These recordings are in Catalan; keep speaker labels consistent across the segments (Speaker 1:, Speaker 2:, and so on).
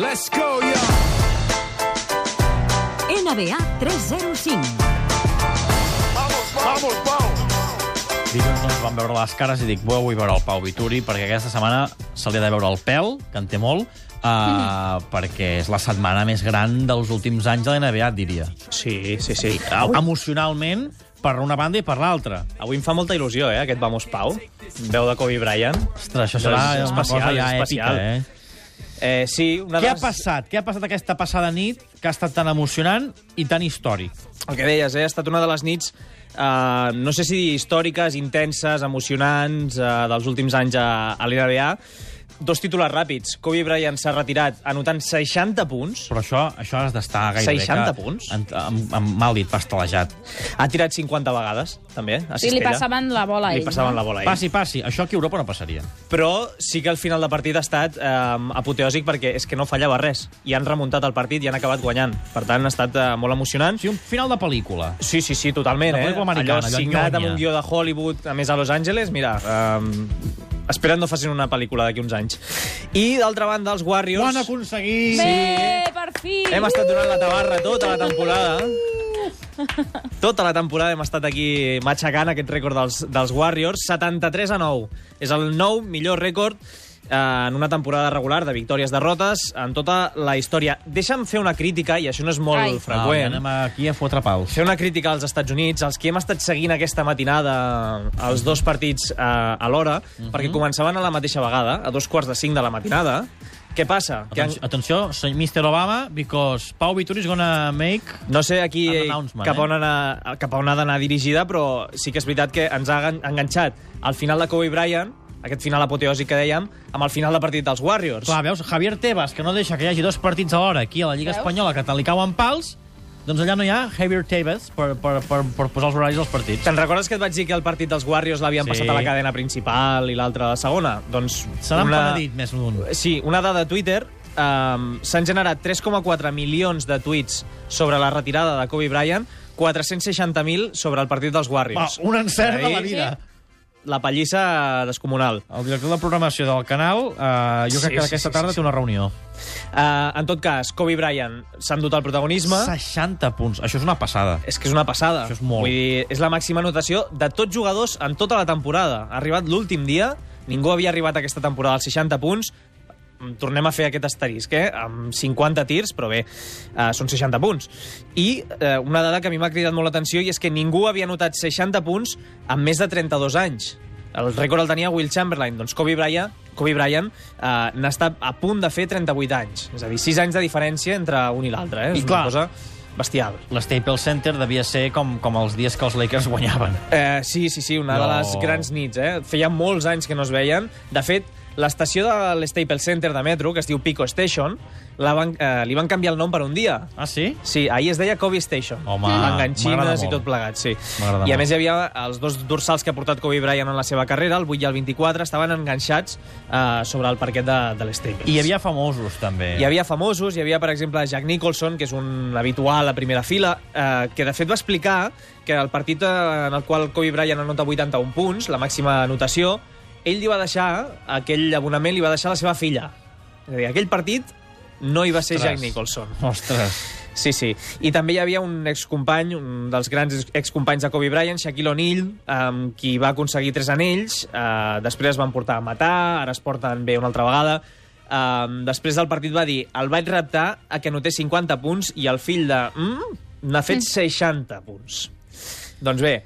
Speaker 1: Let's go, yo!
Speaker 2: NBA 305.
Speaker 1: Vamos, vamos!
Speaker 3: Dilluns ens vam veure les cares i dic, "Bé, vull veure el Pau Vituri, perquè aquesta setmana se li ha de veure el pèl, que en té molt, uh,
Speaker 4: Mm-hmm.
Speaker 3: perquè és la setmana més gran dels últims anys de la NBA, et diria.
Speaker 4: Sí, sí, sí.
Speaker 3: Avui... Emocionalment, per una banda i per l'altra.
Speaker 4: Avui em fa molta il·lusió, eh, aquest Vamos Pau. Veu de Kobe Bryant.
Speaker 3: Ostres, això serà
Speaker 4: Doncs És
Speaker 3: una
Speaker 4: especial,
Speaker 3: cosa ja
Speaker 4: és especial.
Speaker 3: èpica, eh?
Speaker 4: Eh, sí, una
Speaker 3: Què
Speaker 4: de
Speaker 3: ha
Speaker 4: les-
Speaker 3: passat? Què ha passat aquesta passada nit que ha estat tan emocionant i tan històric?
Speaker 4: El que deies, eh, ha estat una de les nits, eh, no sé si dir històriques, intenses, emocionants, eh, dels últims anys a, a l'NBA. Dos títols ràpids. Kobe Bryant s'ha retirat anotant 60 punts,
Speaker 3: Però això, això has d'estar gairebé...
Speaker 4: 60
Speaker 3: que,
Speaker 4: punts?
Speaker 3: Amb, amb, amb mal dit, pastelejat.
Speaker 4: ha tirat 50 vegades, també, a
Speaker 5: Sí,
Speaker 4: cistella.
Speaker 5: li passaven la bola a
Speaker 4: Li
Speaker 5: ell.
Speaker 4: passaven
Speaker 5: no?
Speaker 4: la bola a ell.
Speaker 3: Passi, passi. Això aquí a Europa no passaria.
Speaker 4: però sí que el final de partit ha estat eh, apoteòsic perquè és que no fallava res i han remuntat el partit i han acabat guanyant. Per tant, ha estat eh, molt emocionant.
Speaker 3: Sí, un final de pel·lícula.
Speaker 4: Sí, sí, sí, totalment,
Speaker 3: Una
Speaker 4: eh?
Speaker 3: pel·lícula americana, allò
Speaker 4: allò signat amb
Speaker 3: nyonya.
Speaker 4: un guió de Hollywood, a més a Los Angeles, mira... Um, espera't no facin una pel·lícula d'aquí uns anys. I, d'altra banda, els
Speaker 3: Ho
Speaker 4: Warriors...
Speaker 3: han aconseguit!
Speaker 5: Bé, Eh, per fi!
Speaker 4: Hem estat donant la tabarra tota la temporada. Tota la temporada hem estat aquí matxacant aquest rècord dels, dels Warriors. 73 a 9. És el nou millor rècord eh, en una temporada regular de victòries-derrotes en tota la història. Deixa'm fer una crítica, i això no és molt
Speaker 5: Ai.
Speaker 3: Ah,
Speaker 4: freqüent,
Speaker 3: anem aquí a fotre pals.
Speaker 4: fer una crítica als Estats Units, als qui hem estat seguint aquesta matinada els dos partits eh, alhora,
Speaker 3: Mhm.
Speaker 4: perquè començaven a la mateixa vegada, a dos quarts de cinc de la matinada. Què passa? Que han-
Speaker 3: Atenció, atenció, senyor Mr. Obama, because Pau Vituri is gonna make...
Speaker 4: No sé aquí
Speaker 3: An announcement,
Speaker 4: cap,
Speaker 3: eh?
Speaker 4: on anar, cap a on ha d'anar dirigida, però sí que és veritat que ens ha engan- enganxat al final de Kobe Bryant, aquest final apoteòsic que dèiem, amb el final de partit dels Warriors.
Speaker 3: Clar, veus, Javier Tebas, que no deixa que hi hagi dos partits alhora aquí a la Lliga
Speaker 5: Veus?
Speaker 3: Espanyola, que te li cauen pals, doncs allà no hi ha Javier Tebas per, per, per, per posar els horaris dels partits.
Speaker 4: Te'n recordes que et vaig dir que el partit dels Warriors l'havien
Speaker 3: Sí.
Speaker 4: passat a la cadena principal i l'altre a la segona? Doncs
Speaker 3: Se n'han penedit més d'un.
Speaker 4: Sí, una dada de Twitter. Um, S'han generat 3,4 milions de tuits sobre la retirada de Kobe Bryant, 460.000 sobre el partit dels
Speaker 3: Va,
Speaker 4: Warriors.
Speaker 3: un encert de la
Speaker 4: Ahí.
Speaker 3: vida.
Speaker 4: La pallissa descomunal.
Speaker 3: El director de programació del canal, eh, jo
Speaker 4: Sí,
Speaker 3: crec que
Speaker 4: sí,
Speaker 3: aquesta
Speaker 4: sí,
Speaker 3: tarda
Speaker 4: sí,
Speaker 3: té una reunió.
Speaker 4: Uh, en tot cas, Kobe Bryant s'ha endut el protagonisme.
Speaker 3: 60 punts, això és una passada.
Speaker 4: És que és una passada.
Speaker 3: Això és molt.
Speaker 4: Vull dir, és la màxima anotació de tots jugadors en tota la temporada. Ha arribat l'últim dia, ningú havia arribat aquesta temporada als 60 punts, Mm, tornem a fer aquest asterisc, eh? Amb 50 tirs, però bé, eh, són 60 punts. I eh, una dada que a mi m'ha cridat molt l'atenció i és que ningú havia anotat 60 punts amb més de 32 anys. El rècord el tenia Will Chamberlain. Doncs Kobe Bryant, Kobe Bryant eh, n'està a punt de fer 38 anys. És a dir, 6 anys de diferència entre un i l'altre. Eh?
Speaker 3: I
Speaker 4: És
Speaker 3: clar.
Speaker 4: una cosa bestial.
Speaker 3: L'Staples Center devia ser com, com els dies que els Lakers guanyaven.
Speaker 4: Eh, sí, sí, sí, una no.
Speaker 3: No.
Speaker 4: de les grans nits, eh? Feia molts anys que no es veien. De fet, l'estació de l'Staples Center de metro, que es diu Pico Station, la van, eh, li van canviar el nom per un dia.
Speaker 3: Ah, sí?
Speaker 4: Sí, ahir es deia Kobe Station.
Speaker 3: Home, m'agrada
Speaker 4: Enganxines i
Speaker 3: molt.
Speaker 4: tot plegat, sí.
Speaker 3: M'agrada
Speaker 4: I
Speaker 3: molt.
Speaker 4: a més hi havia els dos dorsals que ha portat Kobe Bryant en la seva carrera, el 8 i el 24, estaven enganxats eh, sobre el parquet de, de l'Staples.
Speaker 3: I hi havia famosos, també.
Speaker 4: Hi havia famosos, hi havia, per exemple, Jack Nicholson, que és un habitual a primera fila, eh, que de fet va explicar que el partit eh, en el qual Kobe Bryant anota 81 punts, la màxima anotació, ell li va deixar, aquell abonament li va deixar a la seva filla. És a dir, aquell partit no hi va ser
Speaker 3: Ostres.
Speaker 4: Jack Nicholson.
Speaker 3: Ostres.
Speaker 4: Sí, sí. I també hi havia un excompany, un dels grans ex- excompanys de Kobe Bryant, Shaquille O'Neal, amb qui va aconseguir tres anells. Eh, després es van portar a matar, ara es porten bé una altra vegada. Eh, després del partit va dir el vaig reptar a que anotés 50 punts i el fill de... Mm, n'ha fet 60 punts. Doncs bé,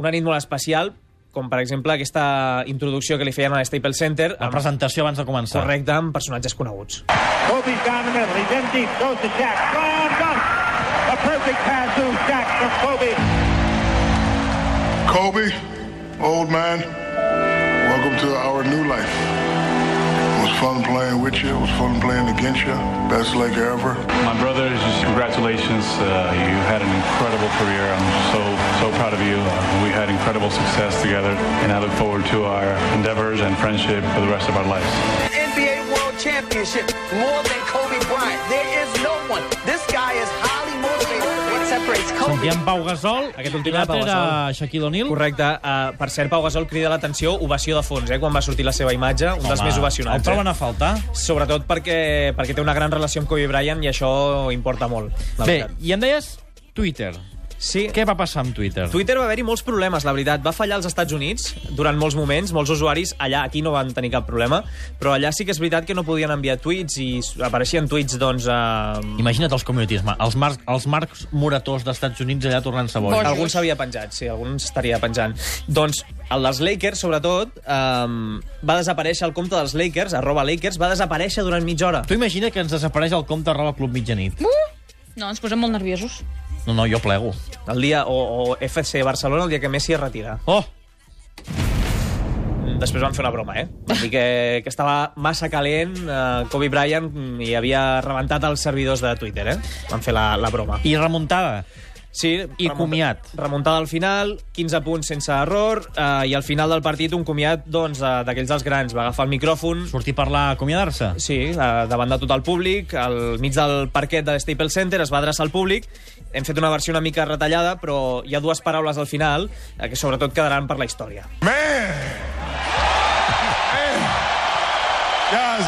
Speaker 4: una nit molt especial, com per exemple aquesta introducció que li feien a l'Staples Center,
Speaker 3: La
Speaker 4: amb,
Speaker 3: presentació abans de començar.
Speaker 4: correcte, amb personatges coneguts.
Speaker 6: Kobe's down the middle. He's in deep. Goes to Shaq. Long dunk. A perfect pass to Shaq from Kobe.
Speaker 7: Kobe, old man, welcome to our new life. It was fun playing with you. It was fun playing against you. Best leg ever.
Speaker 8: My brothers, just congratulations. Uh, you had an incredible career. I'm so, so proud of you. Uh, we had incredible success together, and I look forward to our endeavors and friendship for the rest of our lives.
Speaker 9: NBA World Championship more than Kobe Bryant. There is no one. This guy is highly motivated.
Speaker 1: separates
Speaker 3: Sentíem Pau Gasol,
Speaker 4: Aquest últim
Speaker 3: i
Speaker 4: era Pau
Speaker 3: l'altre era Shaquille O'Neal.
Speaker 4: Correcte. Uh, per cert, Pau Gasol crida l'atenció, ovació de fons, eh, quan va sortir la seva imatge, un dels més
Speaker 3: El
Speaker 4: ovacionats.
Speaker 3: troben
Speaker 4: Eh?
Speaker 3: a faltar.
Speaker 4: Sobretot perquè, perquè té una gran relació amb Kobe Bryant i això importa molt, la
Speaker 3: Bé,
Speaker 4: veritat.
Speaker 3: i em deies Twitter.
Speaker 4: Sí,
Speaker 3: Què va passar amb Twitter?
Speaker 4: Twitter va haver-hi molts problemes, la veritat. Va fallar als Estats Units durant molts moments, molts usuaris allà, aquí no van tenir cap problema, però allà sí que és veritat que no podien enviar tuits i apareixien tuits, doncs... Eh,
Speaker 3: Imagina't els communities, ma- els, mar els marcs morators d'Estats Units allà tornant-se bojos.
Speaker 4: algun s'havia penjat, sí, algun estaria penjant. Doncs el dels Lakers, sobretot, eh, va desaparèixer el compte dels Lakers, arroba Lakers, va desaparèixer durant mitja hora.
Speaker 3: Tu imagina que ens desapareix el compte arroba club mitjanit.
Speaker 5: No, ens posem molt nerviosos.
Speaker 3: No, no, jo plego.
Speaker 4: El dia, o, o FC Barcelona, el dia que Messi es retira.
Speaker 3: Oh!
Speaker 4: Després van fer una broma, eh? Van dir que, que estava massa calent eh, Kobe Bryant mm, i havia rebentat els servidors de Twitter, eh? Van fer la, la broma.
Speaker 3: I remuntada.
Speaker 4: Sí,
Speaker 3: I
Speaker 4: remunta-
Speaker 3: comiat.
Speaker 4: Remuntada al final, 15 punts sense error, eh, i al final del partit un comiat doncs, eh, d'aquells dels grans. Va agafar el micròfon,
Speaker 3: Sortir per la acomiadar-se.
Speaker 4: Sí, eh, davant de tot el públic, al mig del parquet de Staples Center, es va adreçar al públic. Hem fet una versió una mica retallada, però hi ha dues paraules al final eh, que sobretot quedaran per la història.
Speaker 7: Man! Man! Guys,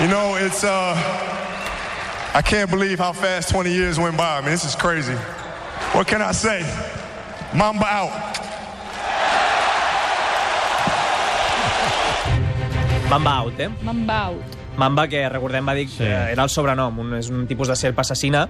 Speaker 7: you know, it's, uh, I can't believe how fast 20 years went by. I mean, this is crazy. What can I say? Mamba out.
Speaker 4: Mamba out, eh?
Speaker 5: Me'n va out.
Speaker 4: Mamba, que recordem va dir que era el sobrenom, un, és un tipus de serp assassina,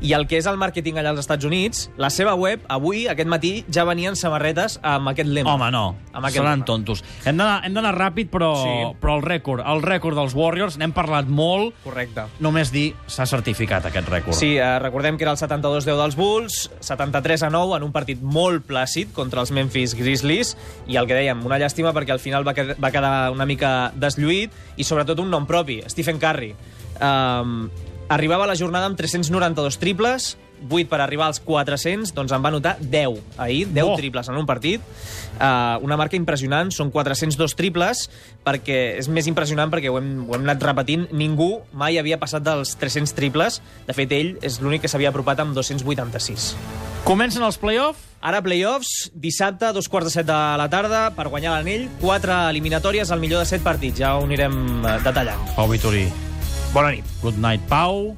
Speaker 4: i el que és el màrqueting allà als Estats Units, la seva web, avui, aquest matí, ja venien samarretes amb aquest lema.
Speaker 3: Home, no.
Speaker 4: Amb aquest
Speaker 3: Seran
Speaker 4: lema.
Speaker 3: tontos. Hem d'anar hem d'anar ràpid, però,
Speaker 4: Sí.
Speaker 3: però el rècord, el rècord dels Warriors, n'hem parlat molt.
Speaker 4: Correcte.
Speaker 3: Només dir, s'ha certificat aquest rècord.
Speaker 4: Sí, eh, recordem que era el 72-10 dels Bulls, 73 a 9 en un partit molt plàcid contra els Memphis Grizzlies, i el que dèiem, una llàstima perquè al final va, qued va quedar una mica deslluït, i sobretot un nom propi, Stephen Curry. Um, arribava a la jornada amb 392 triples, 8 per arribar als 400, doncs en va anotar 10 ahir, 10
Speaker 3: Oh.
Speaker 4: oh. triples en un partit. Uh, una marca impressionant, són 402 triples, perquè és més impressionant perquè ho hem, ho hem anat repetint, ningú mai havia passat dels 300 triples. De fet, ell és l'únic que s'havia apropat amb 286.
Speaker 3: Comencen els play-off.
Speaker 4: Ara playoffs, dissabte, dos quarts de set de la tarda, per guanyar l'anell, quatre eliminatòries, al millor de set partits. Ja ho anirem eh, detallant.
Speaker 3: Pau Vitori,
Speaker 4: Bona nit.
Speaker 3: good night, Pau.